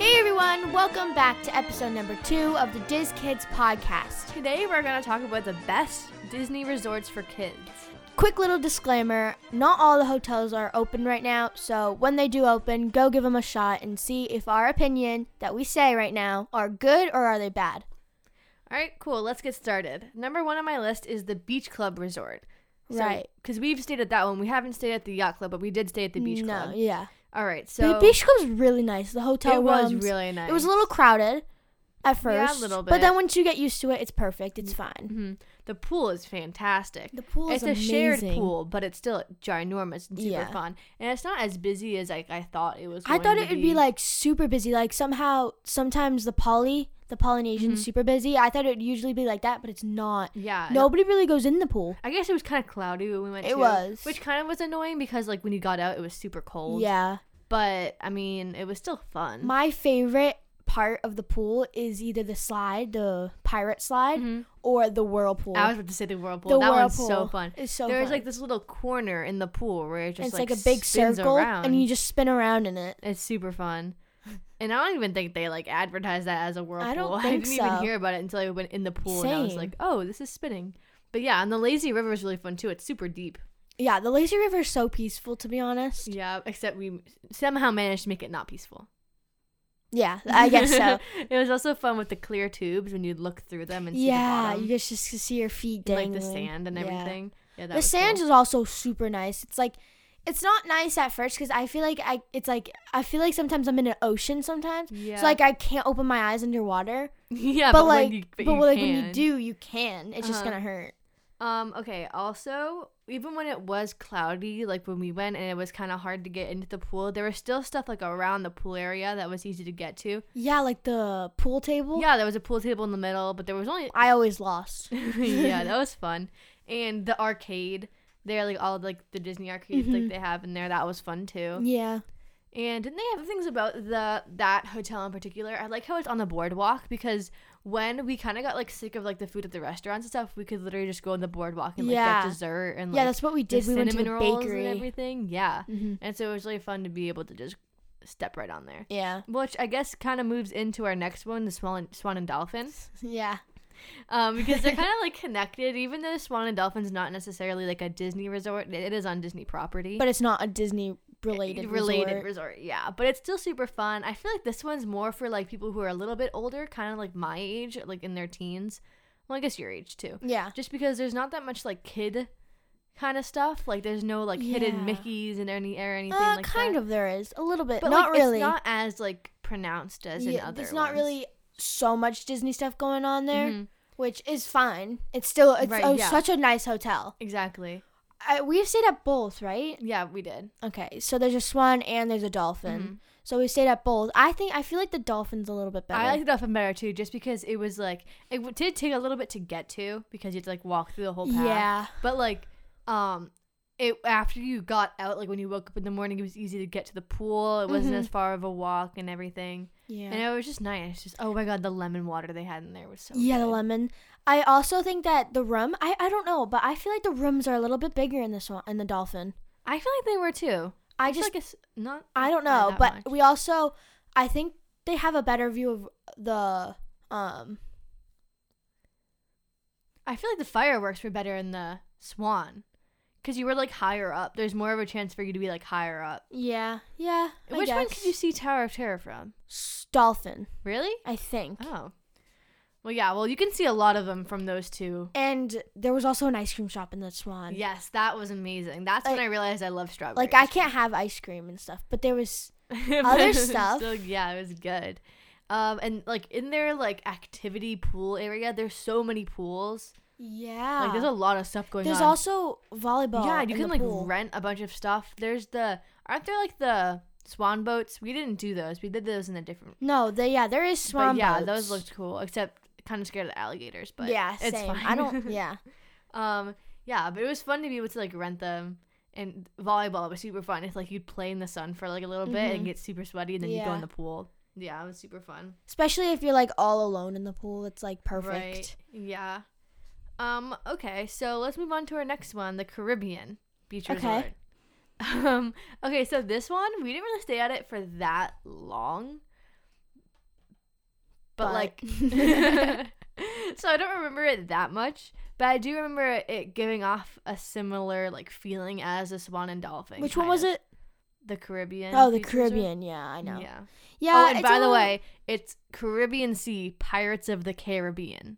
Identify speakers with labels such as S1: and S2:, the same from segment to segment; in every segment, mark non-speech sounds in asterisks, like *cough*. S1: everyone. Welcome back to episode number two of the Diz Kids podcast.
S2: Today we're going to talk about the best Disney resorts for kids.
S1: Quick little disclaimer not all the hotels are open right now, so when they do open, go give them a shot and see if our opinion that we say right now are good or are they bad.
S2: All right, cool. Let's get started. Number one on my list is the Beach Club Resort.
S1: Right.
S2: Because we've stayed at that one. We haven't stayed at the Yacht Club, but we did stay at the Beach
S1: no,
S2: Club.
S1: yeah.
S2: All right, so
S1: The Beach Club's really nice. The hotel
S2: it was
S1: rooms-
S2: really nice.
S1: It was a little crowded at
S2: Yeah, a
S1: first,
S2: little
S1: but then
S2: bit.
S1: once you get used to it, it's perfect. It's fine.
S2: Mhm. The pool is fantastic.
S1: The pool
S2: it's
S1: is
S2: a shared
S1: amazing.
S2: pool, but it's still ginormous and super
S1: Yeah.
S2: fun. And it's not as busy as like I thought it was.
S1: I
S2: going
S1: thought
S2: to
S1: it would be. like super busy. Like somehow, sometimes the poly, the
S2: Mm-hmm.
S1: Polynesian, super busy. I thought it would usually be like that, but it's not.
S2: yeah. and
S1: Nobody really goes in the pool.
S2: I guess it was kind of cloudy when we went.
S1: It
S2: too,
S1: was.
S2: which kind of was annoying because like when you got out, it was super cold.
S1: Yeah.
S2: but I mean, it was still fun.
S1: My favorite part of the pool is either the slide, the pirate slide,
S2: Mhm.
S1: or the whirlpool.
S2: I was about to say the whirlpool.
S1: the
S2: that
S1: whirlpool
S2: one's so fun.
S1: It's so
S2: There's
S1: fun.
S2: like this little corner in the pool where it just
S1: it's
S2: like,
S1: like, a big
S2: spins
S1: circle,
S2: around.
S1: and you just spin around in it.
S2: It's super fun. And I don't even think they like advertise that as a whirlpool. *laughs*
S1: don't think
S2: didn't
S1: so.
S2: even hear about it until I went in the pool and I was
S1: Same.
S2: like, oh, this is spinning. But yeah, and the lazy river is really fun too. It's super deep.
S1: Yeah, the lazy river is so peaceful, to be honest.
S2: Yeah, except we somehow managed to make it not peaceful.
S1: Yeah, I guess
S2: *laughs*
S1: so.
S2: it was also fun with the clear tubes when you'd look through them and see
S1: yeah,
S2: the
S1: you
S2: bottom,
S1: guys just see your feet
S2: and, like
S1: dangling.
S2: the sand and
S1: Yeah.
S2: everything. Yeah, that
S1: the
S2: was
S1: sand
S2: cool.
S1: is also super nice. It's like, it's not nice at first because I feel like I, it's like I feel like sometimes I'm in an ocean sometimes.
S2: yeah.
S1: So like I can't open my eyes underwater.
S2: *laughs* yeah,
S1: but,
S2: but, when
S1: like,
S2: you,
S1: but,
S2: but, you
S1: like when you
S2: can.
S1: do, you can. It's just
S2: Uh-huh.
S1: gonna hurt.
S2: Um, okay, also, even when it was cloudy, like when we went and it was kind of hard to get into the pool, there was still stuff like around the pool area that was easy to get to.
S1: Yeah, like the pool table.
S2: Yeah, there was a pool table in the middle, but there was
S1: *laughs*
S2: only *laughs*
S1: I always lost.
S2: Yeah, that was fun. And the arcade, there like all like the Disney arcades
S1: Mhm.
S2: like they have in there, that was fun too.
S1: yeah.
S2: And didn't they have things about the that hotel in particular? I like how it's on the boardwalk because when we kind of got like sick of like the food at the restaurants and stuff, we could literally just go on the boardwalk and like
S1: Yeah.
S2: get dessert and like
S1: yeah, that's what we
S2: the
S1: did. We went to
S2: cinnamon
S1: the
S2: rolls
S1: bakery.
S2: and everything. Yeah,
S1: hmm
S2: and so it was really fun to be able to just step right on there.
S1: Yeah.
S2: Which I guess kind of moves into our next one, the Swan Swan and Dolphin,
S1: Yeah.
S2: um, because
S1: *laughs*
S2: they're kind of like connected. Even though Swan and Dolphin's not necessarily like a Disney resort, it- it is on Disney property.
S1: But it's not a Disney related resort.
S2: related resort, yeah. But it's still super fun. I feel like this one's more for like people who are a little bit older, kind of like my age, like in their teens. Well, I guess your age too.
S1: Yeah.
S2: just because there's not that much like kid kind of stuff. Like there's no like hidden
S1: Yeah.
S2: Mickey's and any or anything
S1: Uh,
S2: like
S1: kind
S2: that.
S1: of there is a little bit,
S2: but
S1: not
S2: like,
S1: really.
S2: It's not as like pronounced as in
S1: yeah,
S2: other.
S1: there's not
S2: ones.
S1: really so much Disney stuff going on there,
S2: Mhm,
S1: which is fine. It's still it's
S2: Right,
S1: oh,
S2: yeah.
S1: such a nice hotel.
S2: exactly.
S1: I, we've stayed at both, right?
S2: Yeah, we did.
S1: Okay, so there's a swan and there's a dolphin.
S2: Mhm.
S1: So we stayed at both. I think I feel like the dolphin's a little bit better.
S2: I like the dolphin better too, just because it was like it w- did take a little bit to get to because you had to like walk through the whole path.
S1: yeah,
S2: But like, um, it after you got out, like when you woke up in the morning, it was easy to get to the pool. It wasn't
S1: Mhm.
S2: as far of a walk and everything,
S1: yeah,
S2: and it was just nice. Just oh my god, the lemon water they had in there was so
S1: yeah. The
S2: good.
S1: lemon. I also think that the room. I, I don't know, but I feel like the rooms are a little bit bigger in the swan and the dolphin.
S2: I feel like they were too.
S1: I,
S2: I
S1: just
S2: just like it's not.
S1: I don't
S2: by
S1: know,
S2: that
S1: but
S2: much.
S1: we also I think they have a better view of the um
S2: I feel like the fireworks were better in the Swan, because you were like higher up. There's more of a chance for you to be like higher up.
S1: yeah yeah I
S2: Which one
S1: guess.
S2: could you see Tower of Terror from?
S1: S- dolphin
S2: Really?
S1: I think
S2: Oh, well, yeah. Well, you can see a lot of them from those two
S1: and there was also an ice cream shop in the Swan
S2: Yes, that was amazing. That's
S1: Like-
S2: when I realized I love strawberries.
S1: like I
S2: *laughs*
S1: can't have ice cream and stuff but there was
S2: can't
S1: other stuff.
S2: yeah, it was good. Um, and like in their like activity pool area, there's so many pools.
S1: yeah
S2: Like there's a lot of stuff going
S1: there's
S2: on.
S1: also volleyball
S2: yeah, you
S1: in
S2: can
S1: the
S2: like
S1: pool.
S2: rent a bunch of stuff. There's the aren't there like the swan boats? We didn't do those. We did those in a different.
S1: no the, yeah there is Swan
S2: but yeah,
S1: boats.
S2: those looked cool. Except kind of scared of alligators, but
S1: yeah
S2: it's
S1: same
S2: fine.
S1: I
S2: *laughs*
S1: don't yeah
S2: Um, yeah, but it was fun to be able to like rent them. And volleyball was super fun. It's like you'd play in the sun for like a little bit
S1: Mhm.
S2: and get super sweaty, and then you go
S1: Yeah.
S2: in the pool. Yeah, it was super fun.
S1: especially if you're like all alone in the pool it's like perfect
S2: Right? Yeah. Um. Okay. So let's move on to our next one, the Caribbean beach
S1: Okay.
S2: resort. *laughs* Um. Okay. So this one, we didn't really stay at it for that long,
S1: *laughs*
S2: but, like *laughs* so I don't remember it that much, but I do remember it giving off a similar like feeling as the Swan and Dolphin.
S1: which one
S2: kind
S1: was
S2: of.
S1: it?
S2: The Caribbean.
S1: Oh, the
S2: Beach Resort?
S1: Caribbean. Yeah, I know.
S2: Yeah.
S1: Yeah.
S2: oh, and
S1: it's
S2: by
S1: a
S2: the
S1: little-
S2: way, it's Caribbean Sea Pirates of the Caribbean.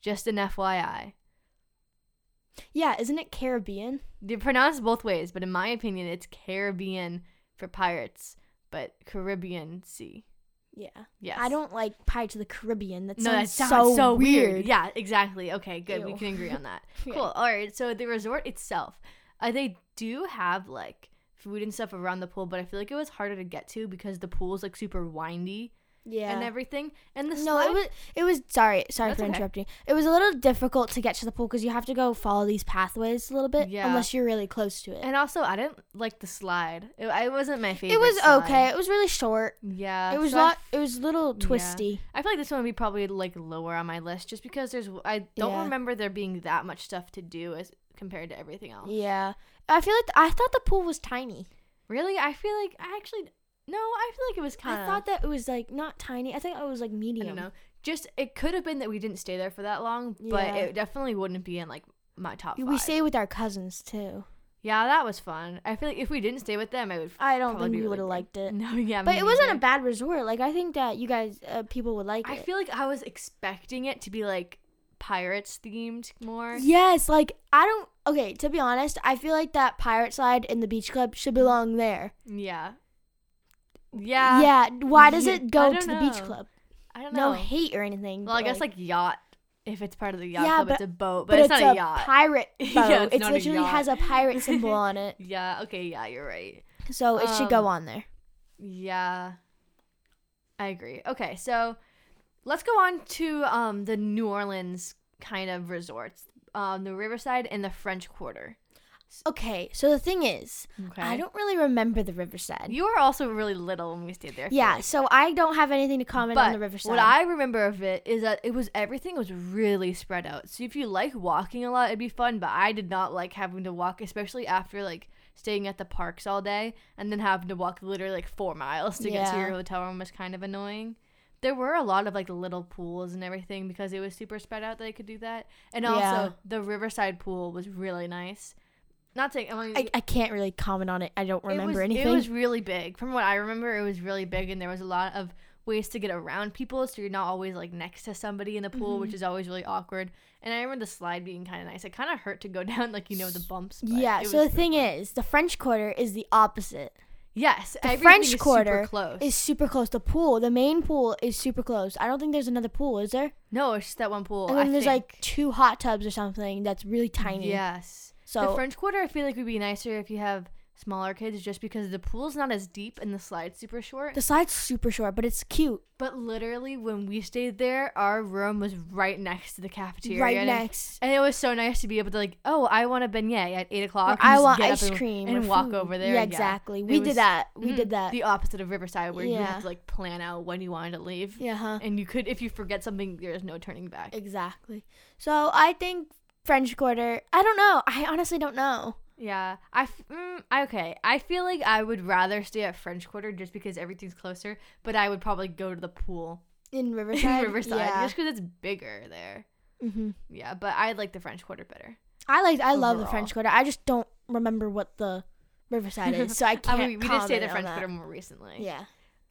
S2: Just an FYI.
S1: yeah, isn't it Caribbean?
S2: They're pronounced both ways, but in my opinion, it's Caribbean for pirates, but Caribbean Sea.
S1: Yeah.
S2: Yes.
S1: I don't like Pirates of the Caribbean. That
S2: No, that
S1: sounds,
S2: sounds so, weird.
S1: weird.
S2: Yeah, exactly. Okay, good. We
S1: Ew.
S2: can agree on that.
S1: *laughs* Yeah.
S2: Cool. All right. So the resort itself, uh, they do have like food and stuff around the pool, but I feel like it was harder to get to because the pool's like super windy
S1: Yeah.
S2: and everything. And the
S1: no, it
S2: slide-
S1: was it was sorry, sorry
S2: That's
S1: for
S2: okay.
S1: interrupting. It was a little difficult to get to the pool because you have to go follow these pathways a little bit
S2: Yeah.
S1: unless you're really close to it.
S2: And also, I didn't like the slide. It, it wasn't my favorite.
S1: it was
S2: slide.
S1: okay. It was really short.
S2: Yeah.
S1: It was
S2: so I
S1: not. It was a little
S2: Yeah.
S1: twisty.
S2: I feel like this one would be probably like lower on my list just because there's I don't
S1: Yeah.
S2: remember there being that much stuff to do as compared to everything else.
S1: Yeah. I feel like I thought the pool was tiny.
S2: Really, I feel like I actually no, I feel like it was kind
S1: I
S2: of.
S1: thought that it was like not tiny. I think it was like
S2: I
S1: medium.
S2: don't know. Just it could have been that we didn't stay there for that long, but
S1: Yeah.
S2: it definitely wouldn't be in like my top.
S1: We
S2: five.
S1: stayed with our cousins too.
S2: yeah, that was fun. I feel like if we didn't stay with them, I would.
S1: I don't
S2: Probably
S1: think
S2: be
S1: you
S2: really
S1: would have
S2: good.
S1: liked it.
S2: *laughs* No, yeah,
S1: But
S2: me
S1: it wasn't a
S2: neither.
S1: bad resort. Like I think that you guys, uh, people would like
S2: I
S1: it.
S2: feel like I was expecting it to be like pirates themed more.
S1: yes, like I don't. Okay, to be honest, I feel like that pirate slide in the beach club should belong there.
S2: Yeah. Yeah.
S1: yeah. Why does
S2: yeah,
S1: it
S2: I
S1: go
S2: don't
S1: to the beach
S2: know.
S1: club?
S2: I don't know.
S1: No hate or anything.
S2: well, I
S1: but,
S2: guess like yacht. If it's part of the yacht
S1: Yeah,
S2: club,
S1: but-
S2: it's a boat,
S1: but,
S2: but, it's, not
S1: a,
S2: a yacht.
S1: pirate boat.
S2: *laughs* Yeah, it's
S1: it
S2: not a
S1: literally
S2: yacht.
S1: has a pirate symbol on
S2: *laughs*
S1: it,
S2: yeah. Okay. Yeah, you're right.
S1: so it should go
S2: Um,
S1: on there.
S2: Yeah. I agree. Okay, so let's go on to um the New Orleans kind of resorts. Um the Riverside and the French Quarter.
S1: Okay, so the thing is,
S2: Okay.
S1: I don't really remember the Riverside.
S2: You were also really little when we stayed there. I feel
S1: yeah,
S2: like.
S1: so I don't have anything to comment
S2: But
S1: on the Riverside.
S2: what I remember of it is that it was everything was really spread out. So if you like walking a lot, it'd be fun. But I did not like having to walk, especially after like staying at the parks all day and then having to walk literally like four miles to get to
S1: Yeah.
S2: your hotel room was kind of annoying. There were a lot of like little pools and everything because it was super spread out that I could do that. And also
S1: Yeah.
S2: the Riverside pool was really nice. Not saying I mean,
S1: I, I can't really comment on it. I don't remember
S2: it was,
S1: anything.
S2: It was really big. From what I remember, it was really big, and there was a lot of ways to get around people, so you're not always like next to somebody in the pool,
S1: Mm-hmm.
S2: which is always really awkward. And I remember the slide being kind of nice. It kind of hurt to go *laughs* down, like you know the bumps. but
S1: yeah.
S2: it
S1: So the
S2: was-
S1: thing is, the French Quarter is the opposite.
S2: yes,
S1: The
S2: everything is
S1: French
S2: super
S1: Quarter
S2: close.
S1: is super close. The pool, the main pool, is super close. I don't think there's another pool, is there?
S2: no, it's just that one pool.
S1: and
S2: I
S1: then there's like
S2: think.
S1: two hot tubs or something that's really tiny.
S2: yes. the
S1: So
S2: French Quarter, I feel like would be nicer if you have smaller kids, just because the pool's not as deep and the slide's super short.
S1: the slide's super short, but it's cute.
S2: but literally, when we stayed there, our room was right next to the cafeteria.
S1: right
S2: and
S1: next.
S2: And it was so nice to be able to like, oh, I want a beignet at eight o'clock.
S1: Or
S2: and
S1: I
S2: just
S1: want
S2: get up
S1: ice
S2: and-
S1: cream
S2: and
S1: or
S2: walk
S1: food.
S2: over there.
S1: Yeah, exactly.
S2: It
S1: We
S2: was-
S1: did that. We
S2: Mhm.
S1: did that.
S2: The opposite of Riverside, where you
S1: Yeah.
S2: have to like plan out when you wanted to leave,
S1: yeah. Huh.
S2: and you could, if you forget something, there's no turning back.
S1: Exactly. So I think French Quarter. I don't know. I honestly don't know.
S2: Yeah, I f- mm, I- okay. I feel like I would rather stay at French Quarter just because everything's closer, but I would probably go to the pool *laughs*
S1: In Riverside.
S2: in Riverside
S1: Yeah.
S2: just because it's bigger there.
S1: hmm
S2: Yeah, but I like the French Quarter better.
S1: I like. I love the
S2: Overall.
S1: French Quarter. I just don't remember what the Riverside is, so I
S2: *laughs* I
S1: can't.
S2: mean, we did stay at the
S1: comment on
S2: French
S1: that.
S2: Quarter more recently.
S1: Yeah.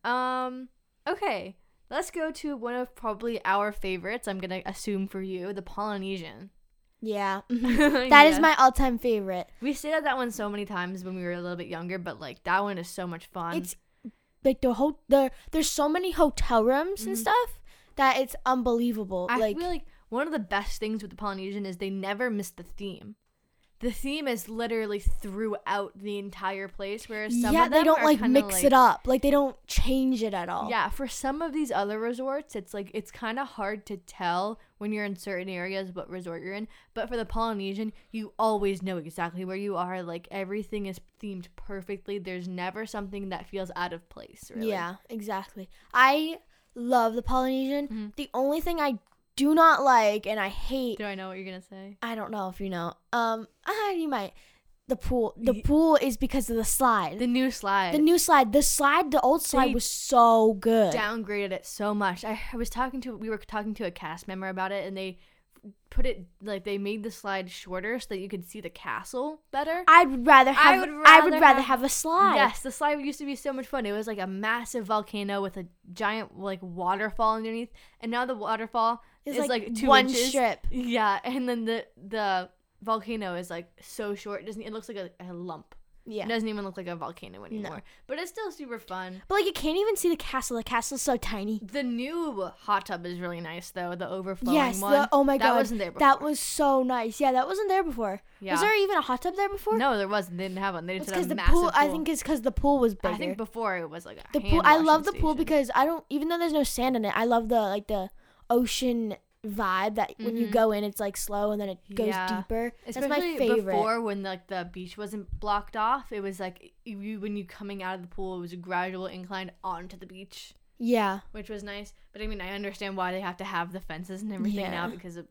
S2: Um. Okay. Let's go to one of probably our favorites. I'm gonna assume for you, the Polynesian.
S1: Yeah.
S2: That
S1: mhm.
S2: is *laughs*
S1: That is my all-time favorite.
S2: We stayed at that one so many times when we were a little bit younger, but like that one is so much fun.
S1: It's like the whole there. There's so many hotel rooms and
S2: Mhm.
S1: stuff that it's unbelievable.
S2: I
S1: like
S2: feel like one of the best things with the Polynesian is they never miss the theme. The theme is literally throughout the entire place, whereas some
S1: yeah,
S2: of them
S1: they don't
S2: are
S1: like
S2: kinda,
S1: mix
S2: like,
S1: it up. Like they don't change it at all.
S2: Yeah, for some of these other resorts, it's like it's kind of hard to tell when you're in certain areas what resort you're in. But for the Polynesian, you always know exactly where you are. Like everything is themed perfectly. There's never something that feels out of place. Really.
S1: Yeah, exactly. I love the Polynesian.
S2: Mhm.
S1: The only thing I do not like and I hate
S2: Do I know what you're gonna say?
S1: I don't know if you know. Um, ah, you might. the pool. The
S2: Ye-
S1: pool is because of the slide.
S2: The new slide.
S1: The new slide, the slide, the old slide
S2: They
S1: was so good.
S2: downgraded it so much. I, I was talking to we were talking to a cast member about it, and they put it like they made the slide shorter so that you could see the castle better.
S1: I'd rather
S2: I
S1: have. I would
S2: would
S1: rather,
S2: rather
S1: have, a slide.
S2: Yes, the slide used to be so much fun. It was like a massive volcano with a giant like waterfall underneath, and now the waterfall
S1: It's
S2: is
S1: like
S2: like, two
S1: one
S2: inches.
S1: strip.
S2: Yeah, and then the the volcano is like so short. It doesn't it looks like a, a lump.
S1: Yeah.
S2: It doesn't even look like a volcano anymore. But it's still super fun.
S1: But like you can't even see the castle. The castle's so tiny.
S2: The new hot tub is really nice though. The overflowing
S1: yes.
S2: one.
S1: The, oh my
S2: that
S1: god.
S2: wasn't there
S1: That
S2: before.
S1: was so nice. Yeah, that wasn't there before.
S2: Yeah.
S1: Was there even a hot tub there before?
S2: No, there wasn't. They didn't have one. They
S1: It's
S2: just
S1: because
S2: had
S1: the
S2: a massive
S1: pool, I think it's because the pool was bigger.
S2: I think before it was like a
S1: the
S2: hand
S1: pool. I love the
S2: washing
S1: pool
S2: station.
S1: because I don't. Even though there's no sand in it, I love the like the ocean vibe that when you
S2: Mhm.
S1: go in, it's like slow and then it goes
S2: Yeah.
S1: deeper.
S2: Especially
S1: That's my favorite.
S2: Before, when like the beach wasn't blocked off, it was like you when you coming out of the pool, it was a gradual incline onto the beach,
S1: yeah.
S2: which was nice. But I mean, I understand why they have to have the fences and everything now
S1: Yeah.
S2: because of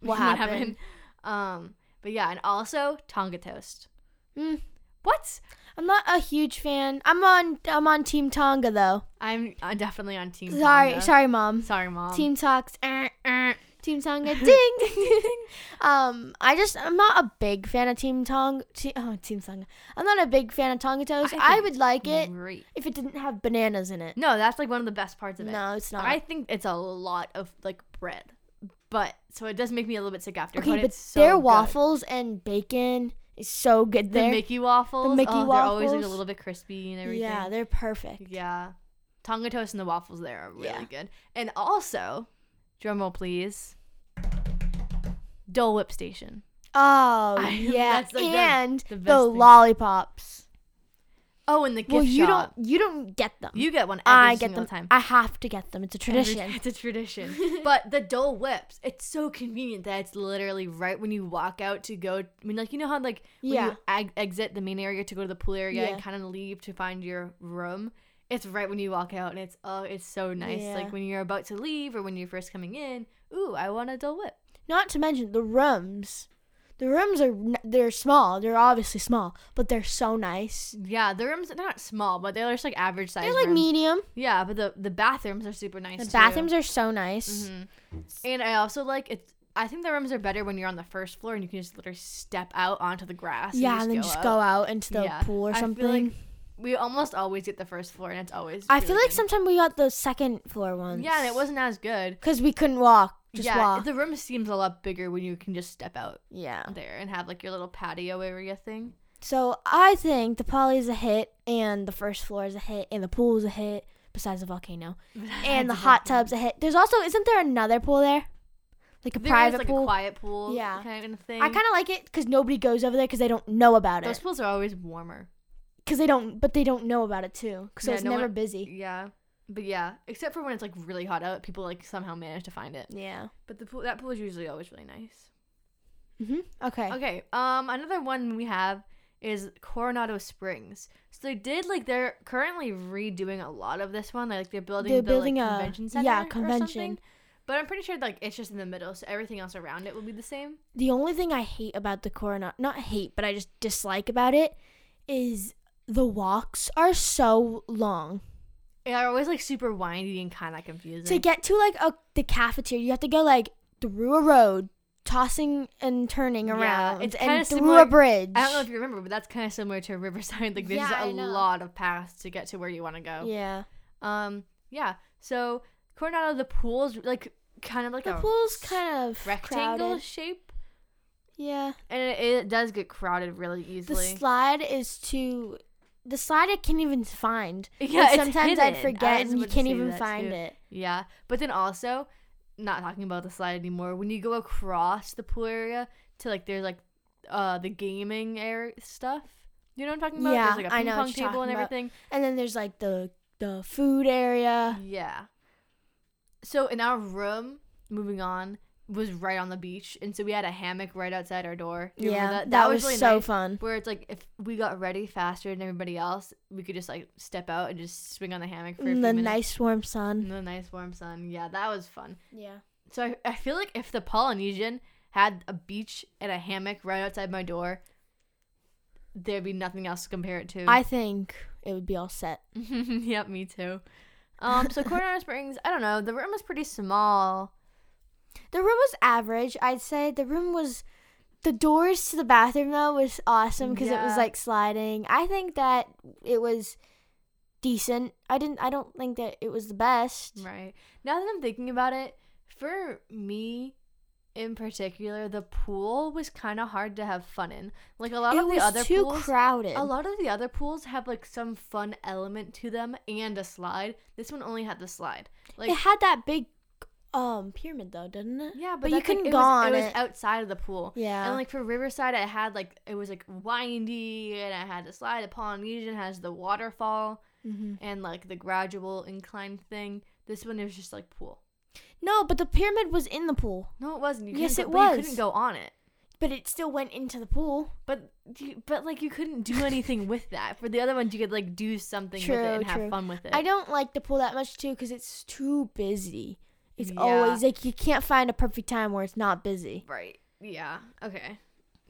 S1: What happened.
S2: *laughs* Um, but yeah, and also Tonga toast.
S1: Mm.
S2: What?
S1: I'm not a huge fan. I'm on I'm on Team Tonga though.
S2: I'm uh, definitely on team.
S1: Sorry,
S2: Tonga.
S1: sorry, mom.
S2: sorry, mom.
S1: Team
S2: *laughs*
S1: talks. eh, eh. Team Tonga. Ding. ding, ding. um, I just I'm not a big fan of Team Tonga. Te- oh, Team Tonga. I'm not a big fan of Tonga toast.
S2: I
S1: I,
S2: think
S1: would like it
S2: Great.
S1: if it didn't have bananas in it.
S2: No, that's like one of the best parts of it.
S1: No, it's not.
S2: I think it's a lot of like bread, but so it does make me a little bit sick after.
S1: okay,
S2: but,
S1: but,
S2: it's so
S1: their
S2: good.
S1: waffles and bacon is so good
S2: the
S1: there.
S2: Mickey waffles,
S1: Mickey
S2: oh, they're always like a
S1: waffles.
S2: little bit crispy and everything.
S1: yeah, they're perfect.
S2: yeah. Tonga toast and the waffles there are really
S1: Yeah.
S2: good. And also, drum roll please, Dole Whip Station.
S1: Oh
S2: I- *laughs*
S1: yeah,
S2: that's, like, the-
S1: and the,
S2: the best thing.
S1: lollipops.
S2: Oh, and the gift
S1: Well, you
S2: shop.
S1: don't you don't get them.
S2: You get one every
S1: I get
S2: single
S1: them.
S2: time.
S1: I have to get them. It's a
S2: Every-
S1: tradition.
S2: *laughs* it's a
S1: *laughs*
S2: tradition. but the Dole Whips, it's so convenient that it's literally right when you walk out to go. I mean, like you know how like when
S1: Yeah.
S2: you ag- exit the main area to go to the pool area and
S1: Yeah.
S2: kind of leave to find your room. It's right when you walk out, and it's oh, it's so nice.
S1: Yeah.
S2: Like when you're about to leave or when you're first coming in. Ooh, I want a Dole Whip.
S1: Not to mention the rooms. The rooms are n- they're small. They're obviously small, but they're so nice.
S2: Yeah, the rooms are not small, but they're just like average size.
S1: They're like
S2: rooms.
S1: medium.
S2: Yeah, but the the bathrooms are super nice.
S1: The
S2: too.
S1: bathrooms are so nice.
S2: Mhm. And I also like it's. I think the rooms are better when you're on the first floor and you can just literally step out onto the grass.
S1: Yeah, and then just
S2: up.
S1: go out into the
S2: Yeah.
S1: pool or
S2: I feel
S1: something.
S2: like we almost always get the first floor, and it's always.
S1: I feel
S2: really
S1: like
S2: good.
S1: sometimes we got the second floor ones.
S2: Yeah, and it wasn't as good.
S1: because we couldn't walk. Just
S2: yeah,
S1: walk.
S2: the room seems a lot bigger when you can just step out
S1: yeah.
S2: there and have like your little patio area thing.
S1: So I think the poly is a hit, and the first floor is a hit, and the pool is a hit. Besides the
S2: *laughs*
S1: volcano, and the hot tub's a hit. There's also isn't there another pool there, like a
S2: There is,
S1: private
S2: like
S1: pool?
S2: a quiet pool.
S1: Yeah.
S2: kind of thing.
S1: I kind of like it because nobody goes over there because they don't know about
S2: those
S1: it.
S2: pools are always warmer.
S1: Because they don't, but they don't know about it too. 'cause So
S2: Yeah,
S1: it's
S2: no
S1: never
S2: one-
S1: busy.
S2: Yeah, but yeah, except for when it's like really hot out, people like somehow manage to find it.
S1: Yeah.
S2: But the pool that pool is usually always really nice.
S1: hmm Okay.
S2: Okay. Um, another one we have is Coronado Springs. So they did like they're currently redoing a lot of this one. Like they're building
S1: They're
S2: the
S1: building
S2: like,
S1: a-
S2: convention
S1: yeah,
S2: center. Yeah,
S1: convention.
S2: convention. But I'm pretty sure like it's just in the middle, so everything else around it will be the same.
S1: The only thing I hate about the Coronado, not hate, but I just dislike about it, is the walks are so long.
S2: They're always like super windy and kind of confusing.
S1: To get to like a, the cafeteria, you have to go like through a road, tossing and turning
S2: Yeah,
S1: around,
S2: it's kinda
S1: and through
S2: similar-
S1: a bridge.
S2: I don't know if you remember, but that's kind of similar to Riverside. *laughs* Like there's
S1: Yeah,
S2: just a
S1: I know.
S2: lot of paths to get to where you want to go.
S1: yeah.
S2: Um. Yeah. So Coronado, the pool's like kind of like
S1: The
S2: a
S1: pool's kind of
S2: rectangle
S1: crowded.
S2: shape.
S1: Yeah.
S2: and it, it does get crowded really
S1: The
S2: easily.
S1: slide is too. The slide I can't even find.
S2: *laughs* yeah,
S1: Like,
S2: it's
S1: sometimes
S2: hidden.
S1: I'd
S2: I
S1: forget
S2: was
S1: and you
S2: about to
S1: can't
S2: say
S1: even
S2: that,
S1: find
S2: too.
S1: it.
S2: Yeah, but then also, not talking about the slide anymore. When you go across the pool area to like there's like uh the gaming area stuff. You know what I'm talking about?
S1: Yeah,
S2: there's like a
S1: I
S2: ping
S1: know what
S2: pong
S1: you're
S2: table and
S1: talking about.
S2: everything.
S1: And then there's like the the food area.
S2: Yeah. So in our room, moving on, was right on the beach, and so we had a hammock right outside our door. You remember
S1: yeah, that, was,
S2: really
S1: so
S2: nice.
S1: fun.
S2: Where it's like if we got ready faster than everybody else, we could just like step out and just swing on the hammock for a few
S1: And the
S2: minutes. Mm.
S1: nice warm sun.
S2: In the nice warm sun. Yeah, that was fun.
S1: Yeah.
S2: So I, I feel like if the Polynesian had a beach and a hammock right outside my door, there'd be nothing else to compare it to.
S1: I think it would be all set.
S2: *laughs* yep, me too. Um, so Coronado *laughs* Springs, I don't know. The room was pretty small.
S1: The room was average. I'd say the room was. The doors to the bathroom though was awesome because it
S2: Yeah.
S1: was like sliding. I think that it was decent. I didn't. I don't think that it was the best.
S2: Right. Now that I'm thinking about it, for me in particular, the pool was kind of hard to have fun in. Like a lot
S1: it
S2: of
S1: was
S2: the other
S1: too
S2: pools,
S1: crowded.
S2: a lot of the other pools have like some fun element to them and a slide. This one only had the slide. Like
S1: it had that big um pyramid though, didn't it?
S2: yeah, but,
S1: but you
S2: that's,
S1: couldn't
S2: like,
S1: go
S2: it was,
S1: on
S2: It was
S1: it.
S2: outside of the pool.
S1: Yeah.
S2: And like for Riverside, I had like it was like windy, and I had the slide. The Polynesian has the waterfall
S1: mm-hmm.
S2: and like the gradual incline thing. This one it was just like pool.
S1: No, but the pyramid was in the pool,
S2: No, it wasn't. You
S1: Yes,
S2: couldn't
S1: it
S2: go- but You
S1: was.
S2: couldn't go on it.
S1: but it still went into the pool.
S2: But you, but like you couldn't do *laughs* anything with that. For the other ones, you could like do something with
S1: True,
S2: it and
S1: true.
S2: have fun with it.
S1: I don't like the pool that much too because it's too busy. It's
S2: Yeah.
S1: always like you can't find a perfect time where it's not busy.
S2: right. Yeah. Okay.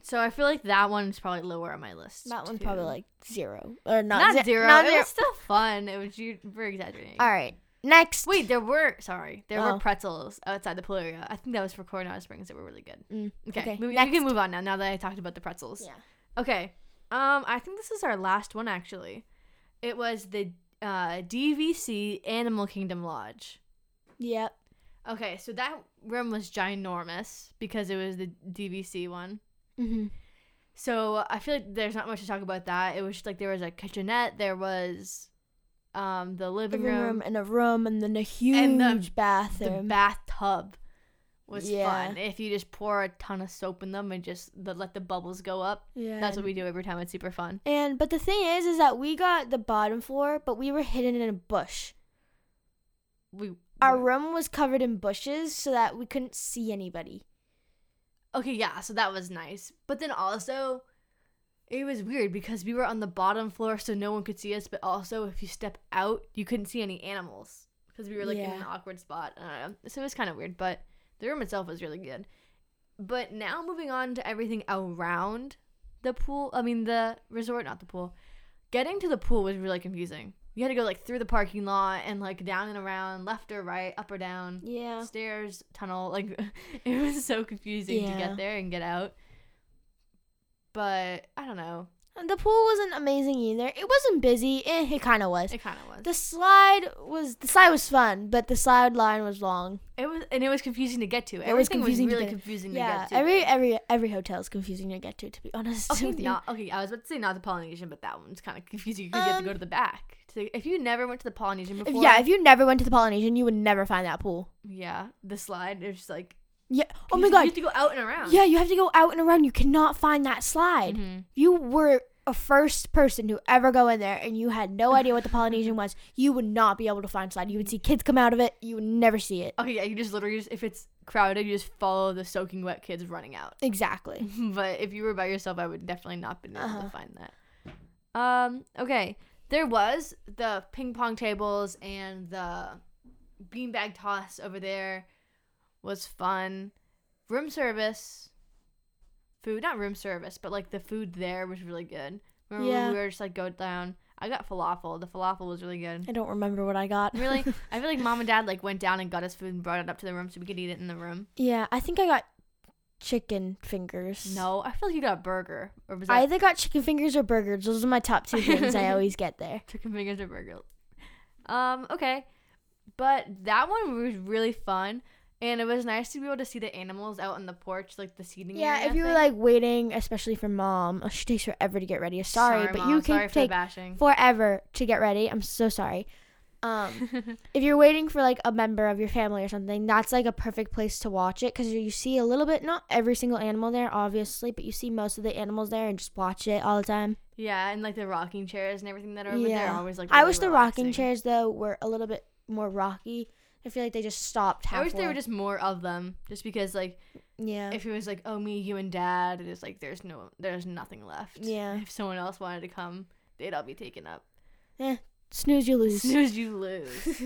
S2: So I feel like that one's probably lower on my list.
S1: That one's
S2: too.
S1: probably like zero or not,
S2: not,
S1: ze-
S2: zero.
S1: not
S2: It
S1: zero.
S2: was still fun. It was you were exaggerating.
S1: All right, next.
S2: Wait, there were sorry, there
S1: Oh.
S2: were pretzels outside the pool area. I think that was for Coronado Springs. They were really good.
S1: Mm,
S2: Okay,
S1: okay,
S2: we, we
S1: next.
S2: can move on now. Now that I talked about the pretzels.
S1: Yeah.
S2: Okay. Um, I think this is our last one actually. It was the uh, DVC Animal Kingdom Lodge.
S1: Yep.
S2: Okay, so that room was ginormous because it was the DVC one.
S1: Mm-hmm.
S2: So I feel like there's not much to talk about that. It was just like there was a kitchenette, there was um the living,
S1: Living room and a room and then a huge
S2: And the- the
S1: bathroom.
S2: bathtub was
S1: Yeah.
S2: fun. If you just pour a ton of soap in them and just the, let the bubbles go up,
S1: yeah.
S2: that's what we do every time. It's super fun.
S1: And but the thing is, is that we got the bottom floor, but we were hidden in a bush.
S2: We
S1: Our room was covered in bushes so that we couldn't see anybody.
S2: okay, yeah. So that was nice, but then also it was weird because we were on the bottom floor, so no one could see us. But also, if you step out, you couldn't see any animals because we were like in an
S1: Yeah.
S2: awkward spot. I don't know. So it was kind of weird, but the room itself was really good. But now moving on to everything around the pool. I mean the resort, not the pool. Getting to the pool was really confusing. You had to go like through the parking lot and like down and around, left or right, up or down
S1: Yeah.
S2: stairs, tunnel. Like *laughs* it was so confusing to
S1: Yeah.
S2: get there and get out. But I don't know.
S1: And the pool wasn't amazing either. It wasn't busy. Eh, it kind of was.
S2: It kind of was.
S1: The slide was the slide was fun, but the slide line was long.
S2: it was and it was confusing to get to.
S1: It was
S2: Everything
S1: confusing to
S2: really
S1: get-
S2: confusing
S1: Yeah,
S2: to get to.
S1: every every every hotel is confusing to get to. To be *laughs* honest
S2: okay,
S1: with you.
S2: not okay. I was about to say not the Polynesian, but that one's kind of confusing because you have to go
S1: Um,
S2: to the back. So if you never went to the Polynesian
S1: If-
S2: before,
S1: yeah, if you never went to the Polynesian, you would never find that pool.
S2: yeah, the slide is just like
S1: Yeah. Oh my
S2: you have- you
S1: god.
S2: have to go out and around.
S1: Yeah, you have to go out and around. You cannot find that slide.
S2: Mhm.
S1: you were a first person to ever go in there and you had no idea
S2: *laughs*
S1: what the Polynesian was, you would not be able to find slide. You would see kids come out of it, you would never see it.
S2: Okay, yeah, you just literally just if it's crowded, you just follow the soaking wet kids running out. Mm-hmm.
S1: Exactly.
S2: *laughs* but if you were by yourself, I would definitely not been able
S1: Uh-huh.
S2: to find that. Um. Okay. There was the ping pong tables and the beanbag toss over there was fun. Room service, food not room service, but like the food there was really good. Remember
S1: Yeah.
S2: when we were just like go down. I got falafel. The falafel was really good.
S1: I don't remember what I got. *laughs*
S2: Really, I feel like mom and dad like went down and got us food and brought it up to the room so we could eat it in the room.
S1: yeah, I think I got chicken fingers.
S2: No, I feel like you got a burger or was that
S1: I either got chicken fingers or burgers. Those are my top two things
S2: *laughs*
S1: I always get there.
S2: chicken fingers or burger. Um, okay. But that one was really fun and it was nice to be able to see the animals out on the porch, like the seating
S1: Yeah,
S2: area.
S1: if you were
S2: thing.
S1: like waiting, especially for mom, oh, she takes forever to get ready. Sorry, but
S2: Mom,
S1: you can
S2: sorry for the
S1: take
S2: bashing. *laughs*
S1: forever to get ready. I'm so sorry.
S2: *laughs*
S1: Um, if you're waiting for like a member of your family or something, that's like a perfect place to watch it because you see a little bit, not every single animal there, obviously, but you see most of the animals there and just watch it all the time.
S2: yeah, and like the rocking chairs and everything that are over there
S1: Yeah.
S2: are always like
S1: I
S2: really
S1: wish the rocking
S2: relaxing.
S1: chairs though were a little bit more rocky. I feel like they just stopped halfway.
S2: I wish there were just more of them, just because like
S1: yeah.
S2: if it was like oh me you and dad, it's like there's no there's nothing left.
S1: Yeah.
S2: If someone else wanted to come, they'd all be taken up.
S1: Snooze, you lose.
S2: As soon as you lose.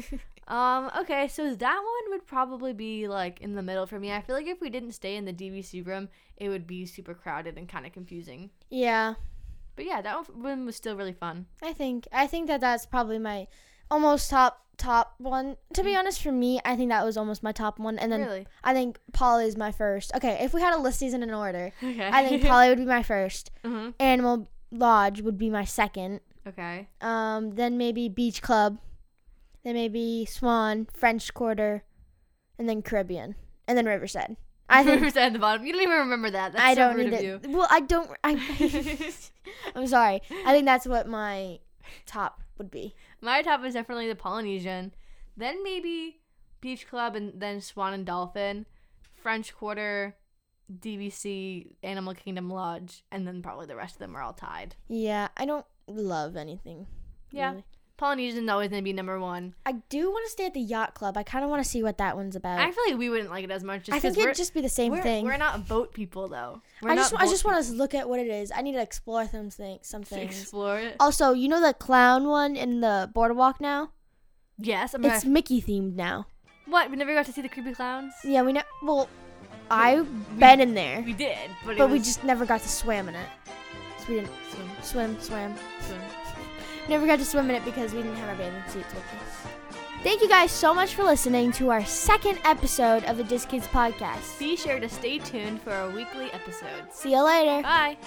S2: um, okay, so that one would probably be like in the middle for me. I feel like if we didn't stay in the DVC room, it would be super crowded and kind of confusing.
S1: *laughs* yeah.
S2: But yeah, that one was still really fun.
S1: I think I think that that's probably my almost top top one. To be
S2: Mm.
S1: honest, for me, I think that was almost my top one, and then
S2: really?
S1: I think Polly is my first. Okay, if we had a list these in an
S2: *laughs*
S1: order,
S2: Okay.
S1: I think Polly would be my first.
S2: hmm
S1: Animal Lodge would be my second.
S2: Okay.
S1: Um, then maybe Beach Club, then maybe Swan, French Quarter, and then Caribbean, and then Riverside.
S2: *laughs*
S1: I think
S2: Riverside at the bottom. You don't even remember that. That's
S1: I
S2: so
S1: don't
S2: rude
S1: need
S2: of
S1: it. Well, I don't. I,
S2: *laughs*
S1: *laughs*
S2: you.
S1: I'm sorry. I think that's what my top would be.
S2: My top is definitely the Polynesian, then maybe Beach Club, and then Swan and Dolphin, French Quarter, DVC, Animal Kingdom Lodge, and then probably the rest of them are all tied.
S1: Yeah, I don't love anything.
S2: Yeah.
S1: really.
S2: Polynesian's always gonna be number one.
S1: I do want to stay at the yacht club. I kind of want to see what that one's about.
S2: I feel like we wouldn't like it as much. Just
S1: I think
S2: 'cause we're,
S1: it'd just be the same
S2: we're,
S1: thing.
S2: We're not boat people though. We're
S1: I just
S2: not
S1: I
S2: boat
S1: just want to look at what it is. I need to explore some things. Some
S2: people Oh, to
S1: things.
S2: explore it.
S1: Also, you know the clown one in the boardwalk now?
S2: yes, I'm
S1: It's
S2: gonna,
S1: Mickey themed now.
S2: what we never got to see the creepy clowns.
S1: Yeah, we know. Well, I've been in there,
S2: We did, but,
S1: but
S2: it
S1: we
S2: was-
S1: just never got to swim in it. So we didn't
S2: Swim,
S1: swim, swim.
S2: swim.
S1: Never got to swim in it because we didn't have our bathing suits with us. Thank you guys so much for listening to our second episode of the Disc Kids podcast.
S2: Be sure to stay tuned for our weekly episodes.
S1: See you later.
S2: Bye.